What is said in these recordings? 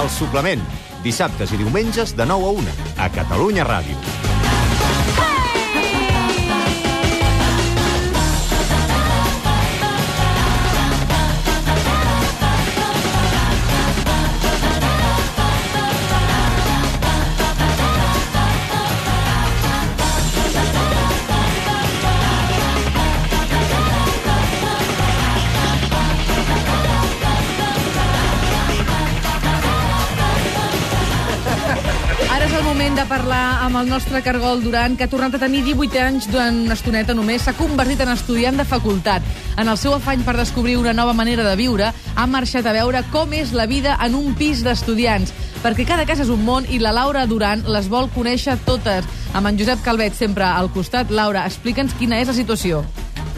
El suplement, dissabtes i diumenges de 9 a 1, a Catalunya Ràdio. Ara és el moment de parlar amb el nostre Cargol Duran, que ha tornat a tenir 18 anys durant una estoneta només. S'ha convertit en estudiant de facultat. En el seu afany per descobrir una nova manera de viure, ha marxat a veure com és la vida en un pis d'estudiants. Perquè cada casa és un món i la Laura Duran les vol conèixer totes. Amb en Josep Calvet sempre al costat. Laura, explica'ns quina és la situació.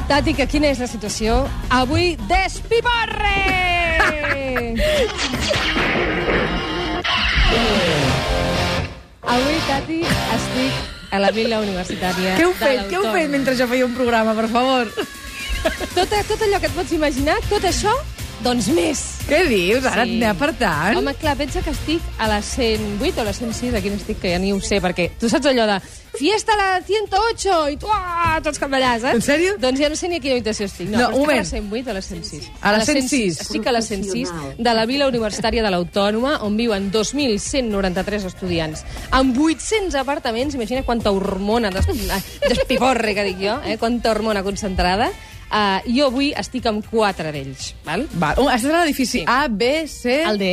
Tati, que quina és la situació? Avui, despiporre! Avui, Tati, estic a la Vila Universitària de l'Autònoma. mentre jo feia un programa, per favor? Tot, tot allò que et pots imaginar, tot això, doncs més. Què dius? Ara et n'hi ha per tant. Home, clar, pensa que estic a la 108 o la 106, aquí no estic, que ja ni ho sé, perquè tu saps allò de fiesta a la 108 i tu, ah, tots camarades, eh? En sèrio? Doncs ja no sé ni a quina habitació estic. No, No, però un moment. estic a la 108 o A a la 106. la 106. Estic a la 106 de la Vila Universitària de l'Autònoma, on viuen 2.193 estudiants. Amb 800 apartaments, imagina quanta hormona des... despiporre, que dic jo, eh? quanta hormona concentrada. Uh, jo avui estic amb quatre d'ells, val? Va, un- estàs Oh, a l'edifici Sí. A, B, C... El D.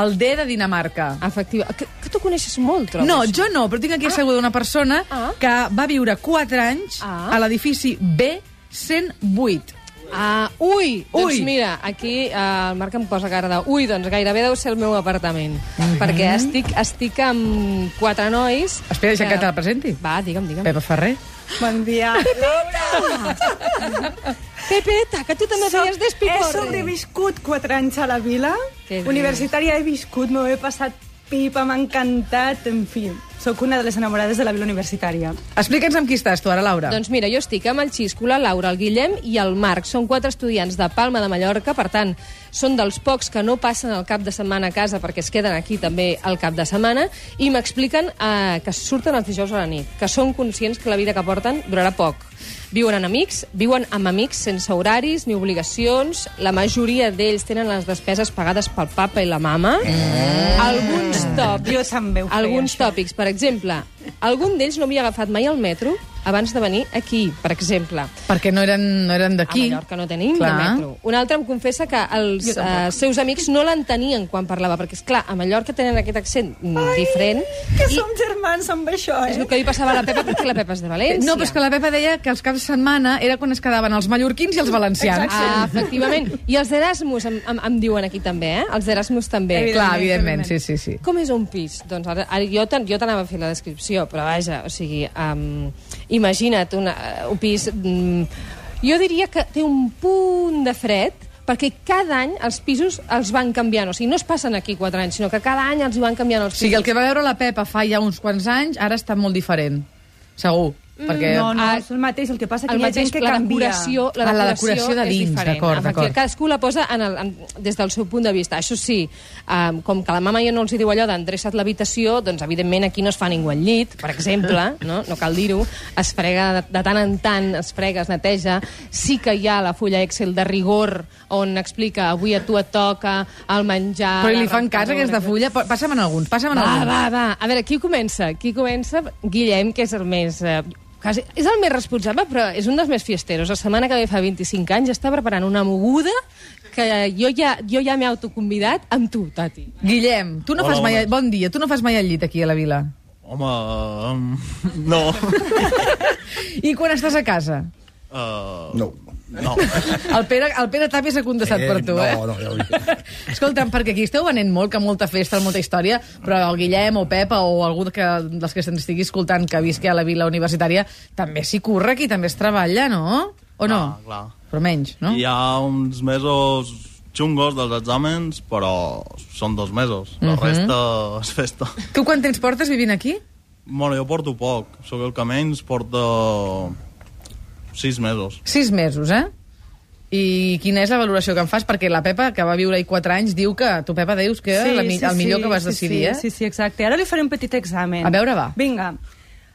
El D de Dinamarca. Efectiva. Que, que tu coneixes molt, trobes? No, jo no, però tinc aquí asseguda una persona Ah. que va viure 4 anys Ah. a l'edifici B108. Ah, ui, doncs Ui. mira, aquí eh, el Marc em posa cara de... Ui, doncs gairebé deu ser el meu apartament. Mhm. Perquè estic, estic amb quatre nois... Espera, deixa que te la presenti. Va, digue'm, digue'm. Pepa Ferrer. Bon dia. Pepeta, que tu també Soc- feies despiporre. He sobreviscut 4 anys a la vila. Què dius? Universitària he viscut, m'ho he passat pipa, m'ha encantat, en fi. Sóc una de les enamorades de la vila universitària. Explica'ns amb qui estàs tu ara, Laura. Doncs mira, jo estic amb el Xisco, la Laura, el Guillem i el Marc. Són quatre estudiants de Palma de Mallorca, per tant, són dels pocs que no passen el cap de setmana a casa perquè es queden aquí també el cap de setmana i m'expliquen eh, que surten els dijous a la nit, que són conscients que la vida que porten durarà poc. Viuen en amics, viuen amb amics sense horaris ni obligacions. La majoria d'ells tenen les despeses pagades pel papa i la mama. Alguns tòpics... Jo també ho feia, Alguns això. tòpics, per exemple. Algun d'ells no havia agafat mai el metro abans de venir aquí, per exemple. Perquè no eren, no eren d'aquí. Aquí. A Mallorca no tenim Clar. Clar. de metro. Un altre em confessa que els eh, seus amics no l'entenien quan parlava, perquè, és clar a Mallorca tenen aquest accent Ai, diferent. Que i som germans amb això, És el eh? que li passava a la Pepa, perquè la Pepa és de València. Eh, No, però és que la Pepa deia que els caps de setmana era quan es quedaven els mallorquins i els valencians. Ah, efectivament. I els d'Erasmus em, em, em diuen aquí també, eh? Els d'Erasmus també. Ah, clar, evidentment, sí, sí, sí. Com és un pis? Doncs ara, ara jo te- jo t'anava a fer la descripció, però vaja, o sigui, um, imagina't una, un pis... Um, jo diria que té un punt de fred, perquè cada any els pisos els van canviant. O sigui, no es passen aquí quatre anys, sinó que cada any els hi van canviant els O pisos. sigui, el que va veure la Pepa fa ja uns quants anys, ara està molt diferent. Segur. Perquè... No, no, Ah, és el mateix, el que passa que el hi ha mateix, gent que la canvia. decoració, la Ah, decoració, la decoració de és dins, diferent. d'acord, Efectivament, d'acord. Cadascú la posa en el, en, des del seu punt de vista. Això sí, um, com que la mama ja no els hi diu allò d'endreça't l'habitació, doncs evidentment aquí no es fa ningú al llit, per exemple, no, no cal dir-ho, es frega de, de tant en tant, es frega, es neteja, sí que hi ha la fulla Excel de rigor on explica avui a tu et toca el menjar... Però la li fan cas, rentadora, aquesta fulla. Pa- Passa'm en alguns, passa'm en va, alguns. va, va. A veure, qui comença? Qui comença? Guillem, que és el més... Eh, quasi, és el més responsable, però és un dels més fiesteros. La setmana que ve fa 25 anys està preparant una moguda que jo ja, jo ja m'he autoconvidat amb tu, Tati. Guillem, tu no Hola, fas mai... hola. Bon dia, tu no fas mai el llit aquí a la vila. Home, um, no. I quan estàs a casa? Uh, no. No. El Pere, el Pere Tàpia s'ha contestat per tu, no, eh? No, no, Escolta'm, perquè aquí esteu venent molt, que molta festa, molta història, però el Guillem o Pepa o algú que, dels que se'n estigui escoltant que visqui a la vila universitària també s'hi curra aquí, també es treballa, no? O no? Clar, Ah, clar. Però menys, no? Hi ha uns mesos xungos dels exàmens, però són dos mesos. La resta és festa. Tu quan temps portes vivint aquí? Bueno, jo porto poc. Sóc el que menys porta sis mesos. Sis mesos, eh? I quina és la valoració que en fas? Perquè la Pepa, que va viure-hi 4 anys, diu que... Tu, Pepa, dius que Eh, la, mi- el millor que vas decidir, sí, eh? Sí, sí, exacte. Ara li faré un petit examen. A veure, va. Vinga.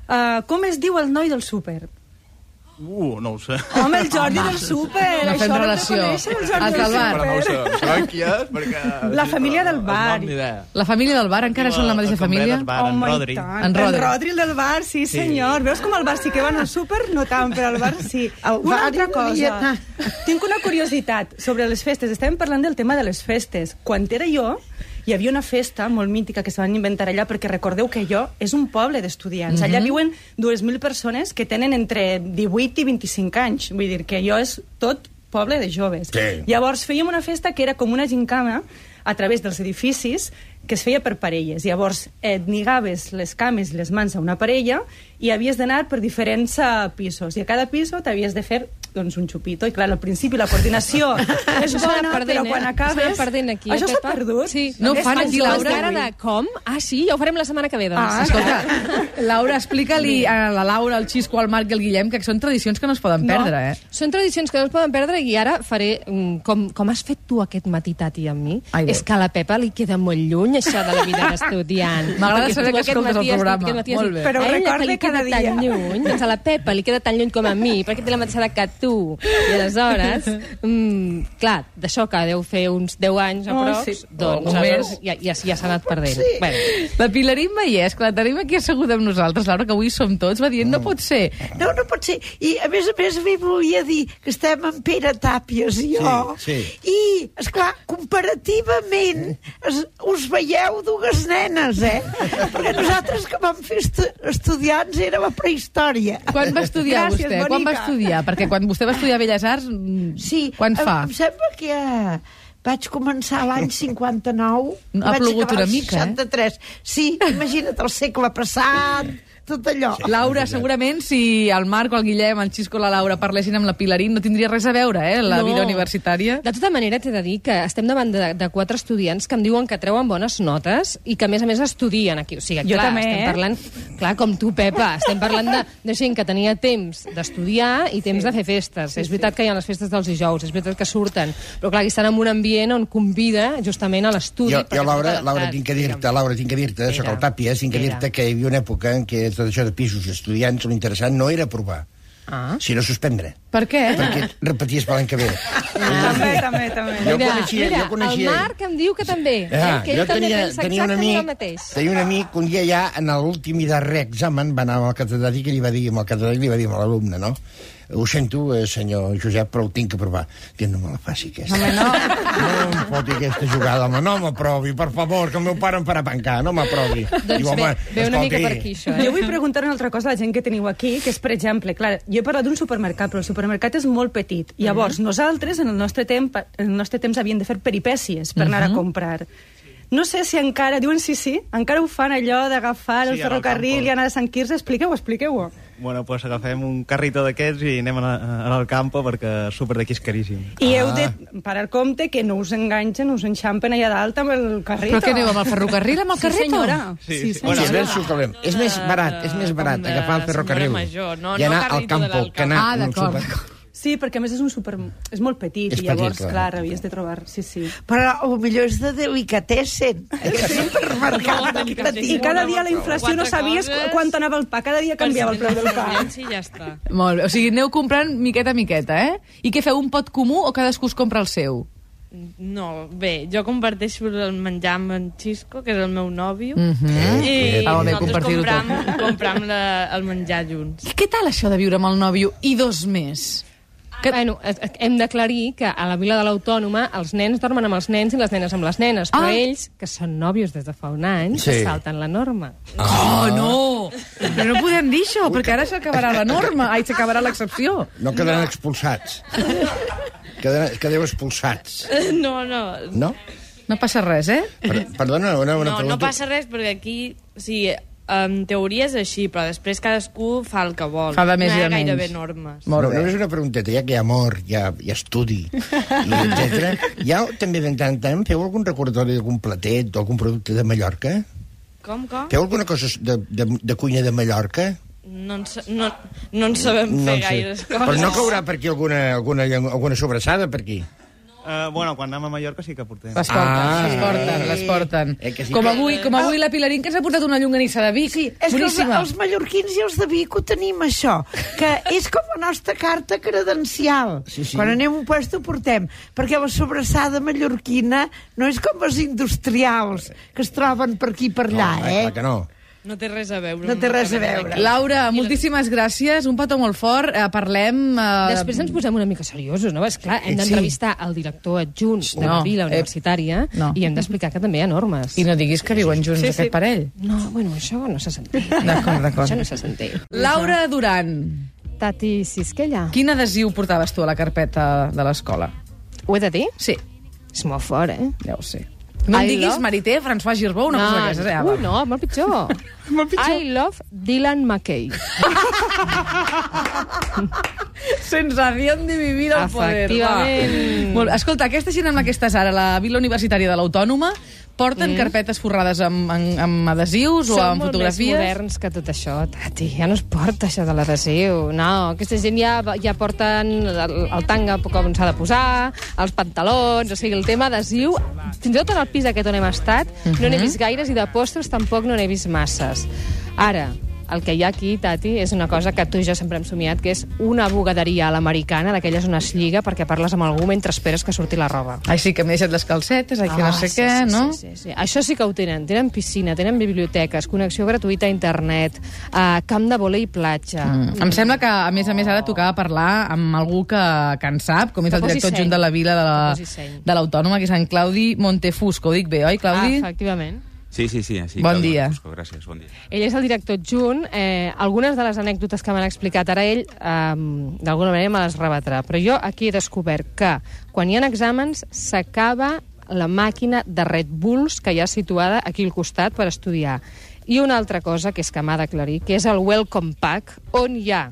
Uh, com es diu el noi del súper? Uh, no ho sé. Home, el Jordi del súper! no fem Això l'hem de relació. conèixer, el Jordi Els del del bar. Però no ho súper. sé, sabeu qui és? Perquè... La família del No, bar. No, ni idea. La família del bar encara són la mateixa família? El bar, en Home, i Rodri. tant. En Rodri. En Rodri, el del bar, sí, senyor. Veus com el bar sí que van al súper? No tant, però el bar sí. El una bar altra i- cosa. Ah. Tinc una curiositat sobre les festes. Estàvem parlant del tema de les festes. Quan era jo, hi havia una festa molt mítica que se van inventar allà, perquè recordeu que jo és un poble d'estudiants. Allà viuen 2.000 persones que tenen entre 18 i 25 anys. Vull dir que jo és tot poble de joves. Sí. Llavors fèiem una festa que era com una gincana a través dels edificis que es feia per parelles. Llavors et nigaves les cames i les mans a una parella i havies d'anar per diferents eh, pisos. I a cada piso t'havies de fer doncs, un xupito. I clar, al principi la coordinació és Això s'ha bona, anat perdent, Ah, però eh? quan S'ha anat acabes... perdent aquí, eh, Això s'ha Pepa? perdut? Sí. No ho fan És aquí, tan Laura. jove Cara de com? Ah, sí? Ja ho farem la setmana que ve, doncs. Ah, Escolta, Laura, explica-li a la Laura, al Xisco, al Marc i al Guillem que són tradicions que no es poden perdre, eh? Són tradicions que no es poden perdre i ara faré mm, com, com has fet tu aquest matí, Tati, amb mi. Ai, Déu. és que a la Pepa li queda molt lluny això de la vida d'estudiant. M'agrada Perquè saber tu que aquest escoltes el matí has dit, programa. aquest matí has Molt dit, bé. Però a ho ella que recorde li queda cada tan dia. lluny, doncs a la Pepa li queda tan lluny com a mi, perquè té la mateixa edat que tu. I aleshores, mm, clar, d'això que deu fer uns 10 anys a Oh, prox, sí. doncs O aleshores més. ja, ja, ja s'ha anat perdent. Sí. Bueno, La Pilarín Vallès, que la tenim aquí asseguda amb nosaltres, Laura, que avui som tots, va dient, no pot ser. No, no pot ser. I, a més a més, li volia dir que estem amb Pere Tàpies i jo. Sí, I, esclar, comparativament, es, us veieu dues nenes, eh? Perquè nosaltres que vam fer estu estudiants era la prehistòria. Quan va estudiar Gràcies, vostè? Quan va bonica. estudiar? Perquè quan vostè va estudiar Belles Arts, mm, Sí, quan fa? Em, em sembla que eh, vaig començar l'any 59. i Ha vaig plogut acabar una el mica, eh? 63. Sí, imagina't el segle passat, tot allò. Laura, segurament, si el Marc o el Guillem, el Xisco o la Laura parlessin amb la Pilarín, no tindria res a veure, eh, la No. vida universitària. De tota manera, t'he de dir que estem davant de, de quatre estudiants que em diuen que treuen bones notes i que, a més a més, estudien aquí. O sigui, Jo clar, també, estem eh? parlant... Clar, com tu, Pepa, estem parlant de, de gent que tenia temps d'estudiar i temps sí. de fer festes. Sí, és veritat sí. que hi ha les festes dels dijous, és veritat que surten, però clar, aquí estan en un ambient on convida justament a l'estudi. Jo, perquè jo és molt Laura, adaptat, Laura, tinc que dir-te, Laura, tinc que dir-te, això que el Era. Tàpia, tinc que Era. dir-te que hi havia una època en què tot això de pisos estudiants, l'interessant no era provar, Ah. Eh? sinó suspendre. Per què? Perquè repeties per l'any que ve. També, també, també. Jo coneixia- mira, jo coneixia- el Marc em diu que també, eh, Ah, que ell jo també tenia, pensa tenia un exactament el amic, mateix. tenia un amic que un dia ja, en l'últim i darrer examen, va anar amb el catedràtic i li va dir, amb el catedràtic li va dir a l'alumne, no? Ho sento, eh, senyor Josep, però ho tinc que provar. Diu, no me la faci, aquesta. Home, no. No em foti aquesta jugada, home, no m'aprovi, per favor, que el meu pare em farà pencar, no m'aprovi. Doncs Diu, ve, home, ve una mica escolti, per aquí, això. Eh? Jo vull preguntar una altra cosa a la gent que teniu aquí, que és, per exemple, clar, jo he parlat d'un supermercat, però el supermercat és molt petit. Mm-hmm. Llavors, nosaltres, en el nostre, temps, en el nostre temps, havíem de fer peripècies per anar a Mm-hmm. comprar. No sé si encara, diuen sí, sí, encara ho fan allò d'agafar Sí, el en el ferrocarril campo. i anar a Sant Quirze. Expliqueu-ho, expliqueu-ho. Bueno, pues Doncs agafem un carrito d'aquests i anem a, a, al campo perquè súper d'aquí és caríssim. I heu de parar compte que no us enganxen, us enxampen allà dalt amb el carrito. Però què aneu, amb el ferrocarril, amb el Sí, carrito? senyora. Sí, sí. Bueno, sí, ben soltalem. És més barat, és més barat com de agafar el ferrocarril senyora major, no- i anar no al carrito de campo que anar Ah, en un d'acord, super- d'acord. Sí, perquè a més és un super... És molt petit, És i llavors, petit, clar. clar, havies de trobar... Sí, sí. Però el millor és de delicatessen. Aquest Ah, supermercat No, petit. I cada dia la inflació no Quatre sabies coses. qu- quant anava el pa. Cada dia canviava el preu del pa. Sí, ja està. Molt bé, o sigui, aneu comprant miqueta a miqueta, eh? I què feu, un pot comú o cadascú es compra el seu? No, bé, jo comparteixo el menjar amb en Xisco, que és el meu nòvio, Mhm. i Ah, molt bé, nosaltres compartir-ho tot. compram, compram la, el menjar junts. I què tal això de viure amb el nòvio i dos més? Que... Bueno, eh, eh, hem d'aclarir que a la Vila de l'Autònoma els nens dormen amb els nens i les nenes amb les nenes, però Ah. ells, que són nòvios des de fa un any, Sí. sí. salten la norma. Oh, no! Però no podem dir això, perquè ara s'acabarà la norma. Ai, s'acabarà l'excepció. No quedaran expulsats. Quedaran, quedeu expulsats, No, no, no? No passa res, eh? Per, perdona, una, una no, pregunta. no passa res, perquè aquí, o sigui, en teoria és així, però després cadascú fa el que vol. Fa de més no i hi de ha gairebé menys. normes. Molt bé. No, només una pregunteta, ja que hi ha amor, hi ha, hi ha estudi, i etc. Ja també de tant en tant feu algun recordatori d'algun platet, d'algun producte de Mallorca? Com, com? Feu alguna cosa de, de, de cuina de Mallorca? No en, sa- no, no en sabem No fer en sé. gaires coses. Però no caurà per aquí alguna, alguna, lleng- alguna sobrassada, per aquí? Uh, bueno, quan anem a Mallorca sí que portem. Les porten, Ah. les porten, les porten. Eh, que sí com, que- avui, com avui la Pilarín, que ens ha portat una llonganissa de Vic. Sí, és que Boníssima. els, els mallorquins i els de Vic ho tenim, això, que és com la nostra carta credencial. Sí, sí. Quan anem a un lloc ho portem, perquè la sobrassada mallorquina no és com els industrials que es troben per aquí i per allà, no, clar eh? que no. No té res a veure. No té res a amb- veure. Laura, moltíssimes gràcies, un petó molt fort. Eh, parlem... Eh, Després ens posem una mica seriosos, no? És clar, hem Sí. d'entrevistar el director adjunt de la No, eh, Vila Universitària no. i hem d'explicar que també hi ha normes. I no diguis que viuen junts sí, sí. aquest parell. No, bueno, això no se s'entén. D'acord, d'acord. Això no se s'entén. Laura Duran, Tati Sisquella, quin adhesiu portaves tu a la carpeta de l'escola? ho he de dir? Sí, És molt fort, eh? ja ho sé. No em I diguis love- Marité, François Girbó, una cosa d'aquestes. Eh? Ah, Ui, va. no, molt pitjor. molt pitjor. I love Dylan McKay. Sensación de vivir al poder. Efectivament. Va. Molt, bé. escolta, aquesta gent amb la que estàs ara, la Vila Universitària de l'Autònoma, porten mm. carpetes forrades amb, amb, amb adhesius o amb molt més fotografies? moderns que tot això, Tati. Ja no es porta això de l'adhesiu. No, aquesta gent ja, ja porten el, el tanga com s'ha de posar, els pantalons, o sigui, el tema adhesiu... Fins i tot en el pis aquest on hem estat no n'he vist gaires i de postres tampoc no n'he vist masses. Ara, el que hi ha aquí, Tati, és una cosa que tu i jo sempre hem somiat, que és una bugaderia a l'americana, d'aquelles on es lliga perquè parles amb algú mentre esperes que surti la roba. Ai, sí, que m'he deixat les calcetes, ai, que no sé Ah, sí, què, sí, no? Sí, sí, sí. Això sí que ho tenen. Tenen piscina, tenen biblioteques, connexió gratuïta a internet, eh, camp de voler i platja. Mm. Em sembla que, a més a més, ara tocava parlar amb algú que, que en sap, com és Que el posi director seny. adjunt de la Vila de Que posi la- seny. de l'Autònoma, que és en Claudi Montefus, que ho dic bé, oi, Ah, Claudi? efectivament. Sí, sí, sí. sí Bon Claudio dia. Busco, gràcies, bon dia. Ell és el director adjunt. Eh, algunes de les anècdotes que m'han explicat ara ell, eh, d'alguna manera me les rebatrà. Però jo aquí he descobert que quan hi ha exàmens s'acaba la màquina de Red Bulls que hi ha situada aquí al costat per estudiar. I una altra cosa que és que m'ha d'aclarir, que és el Welcome Pack, on hi ha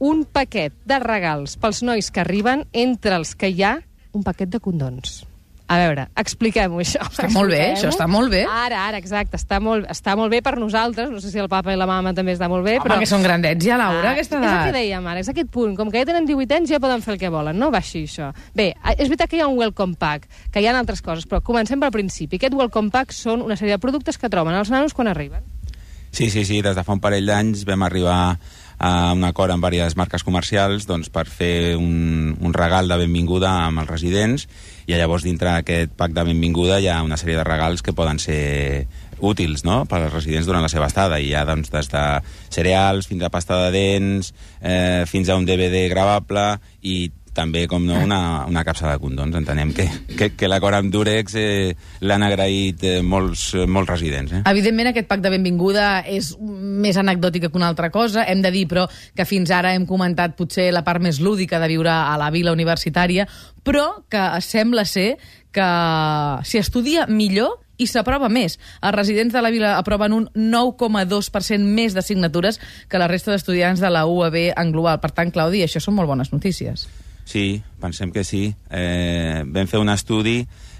un paquet de regals pels nois que arriben, entre els que hi ha un paquet de condons. A veure, expliquem-ho, això. Està molt bé, Expliquem-ho. això està molt bé. Ara, ara, exacte, està molt, està molt bé per nosaltres, no sé si el papa i la mama també està molt bé, Home, però... que són grandets ja, Laura, Ah, aquesta És el que edat. dèiem ara, és aquest punt. Com que ja tenen 18 anys, ja poden fer el que volen, no va així, això. Bé, a- és veritat que hi ha un welcome pack, que hi ha altres coses, però comencem pel principi. Aquest welcome pack són una sèrie de productes que troben els nanos quan arriben. Sí, sí, sí, des de fa un parell d'anys vam arribar a un acord amb diverses marques comercials doncs, per fer un, un regal de benvinguda amb els residents i llavors dintre d'aquest pack de benvinguda hi ha una sèrie de regals que poden ser útils no? per als residents durant la seva estada i hi ha doncs, des de cereals fins a pasta de dents eh, fins a un DVD gravable i també, com no, una, una capsa de condons. Entenem que, que, que l'acord amb Durex eh, l'han agraït eh, molts, eh, molts residents. Eh? Evidentment, aquest pack de benvinguda és més anecdòtica que una altra cosa. Hem de dir, però, que fins ara hem comentat potser la part més lúdica de viure a la vila universitària, però que sembla ser que s'hi estudia millor i s'aprova més. Els residents de la vila aproven un 9,2% més de signatures que la resta d'estudiants de la UAB en global. Per tant, Claudi, això són molt bones notícies. Sí, pensem que sí. Eh, vam fer un estudi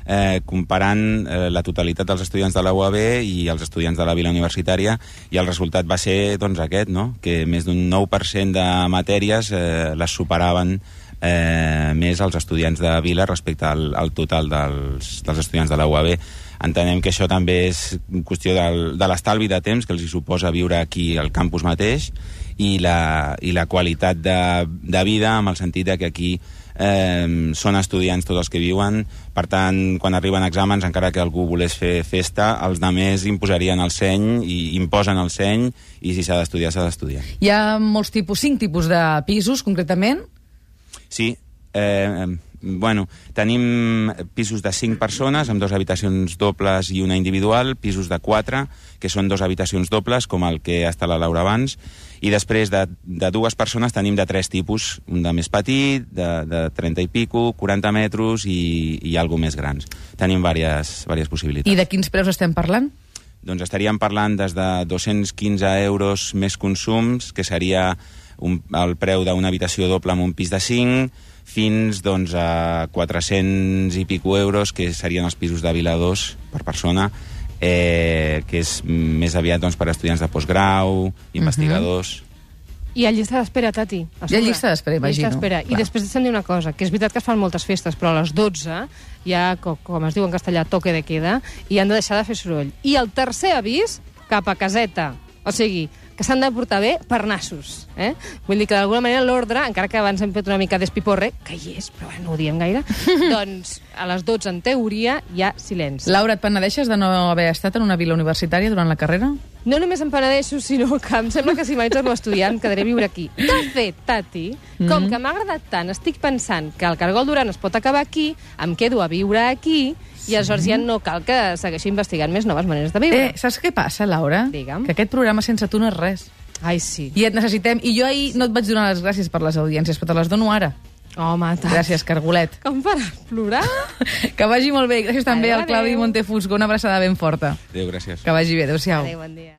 eh, comparant eh, la totalitat dels estudiants de la UAB i els estudiants de la Vila Universitària i el resultat va ser doncs, aquest, no? que més d'un 9% de matèries eh, les superaven eh, més els estudiants de Vila respecte al, al total dels, dels estudiants de la UAB. Entenem que això també és qüestió del, de l'estalvi de temps que els hi suposa viure aquí al campus mateix i la, i la qualitat de, de vida amb el sentit de que aquí eh, són estudiants tots els que viuen per tant, quan arriben exàmens encara que algú volés fer festa els de més imposarien el seny i imposen el seny i si s'ha d'estudiar s'ha d'estudiar Hi ha molts tipus, cinc tipus de pisos, concretament. Sí, eh, eh, bueno, tenim pisos de 5 persones amb dues habitacions dobles i una individual, pisos de 4, que són dues habitacions dobles, com el que està la Laura abans, i després de, de dues persones tenim de tres tipus, un de més petit, de, de 30 i pico, 40 metres i, i algo més grans. Tenim diverses, diverses possibilitats. I de quins preus estem parlant? Doncs estaríem parlant des de 215 euros més consums, que seria un, el preu d'una habitació doble amb un pis de 5, fins doncs, a 400 i pico euros, que serien els pisos de Vila 2 per persona, eh, que és més aviat doncs, per estudiants de postgrau, investigadors... Uh -huh. I a llista d'espera, Tati. a Hi ha sobre. llista d'espera, imagino. Llista d'espera. I Clar. després se'n diu una cosa, que és veritat que es fan moltes festes, però a les 12 hi ha, co- com es diu en castellà, toque de queda, i han de deixar de fer soroll. I el tercer avís, cap a caseta. O sigui, que s'han de portar bé per nassos. Eh? Vull dir que d'alguna manera l'ordre, encara que abans hem fet una mica d'espiporre, que hi és, però bueno, no ho diem gaire, doncs a les 12, en teoria, hi ha silenci. Laura, et penedeixes de no haver estat en una vila universitària durant la carrera? No només em penedeixo, sinó que em sembla que si mai torno a estudiar em quedaré a viure aquí. De fet, Tati, com que m'ha agradat tant, estic pensant que el Cargol Duran es pot acabar aquí, em quedo a viure aquí, i aleshores ja no cal que segueixi investigant més noves maneres de viure. Eh, saps què passa, Laura? Digue'm. Que aquest programa sense tu no és res. Ai, sí. I et necessitem. I jo ahir no et vaig donar les gràcies per les audiències, però te les dono ara. Home, tant. Gràcies, Cargolet. Com per plorar? que vagi molt bé. Gràcies també Adéu, al Claudi adéu. Montefusco. Una abraçada ben forta. Adéu, gràcies. Que vagi bé. Adéu-siau. Adéu, bon dia.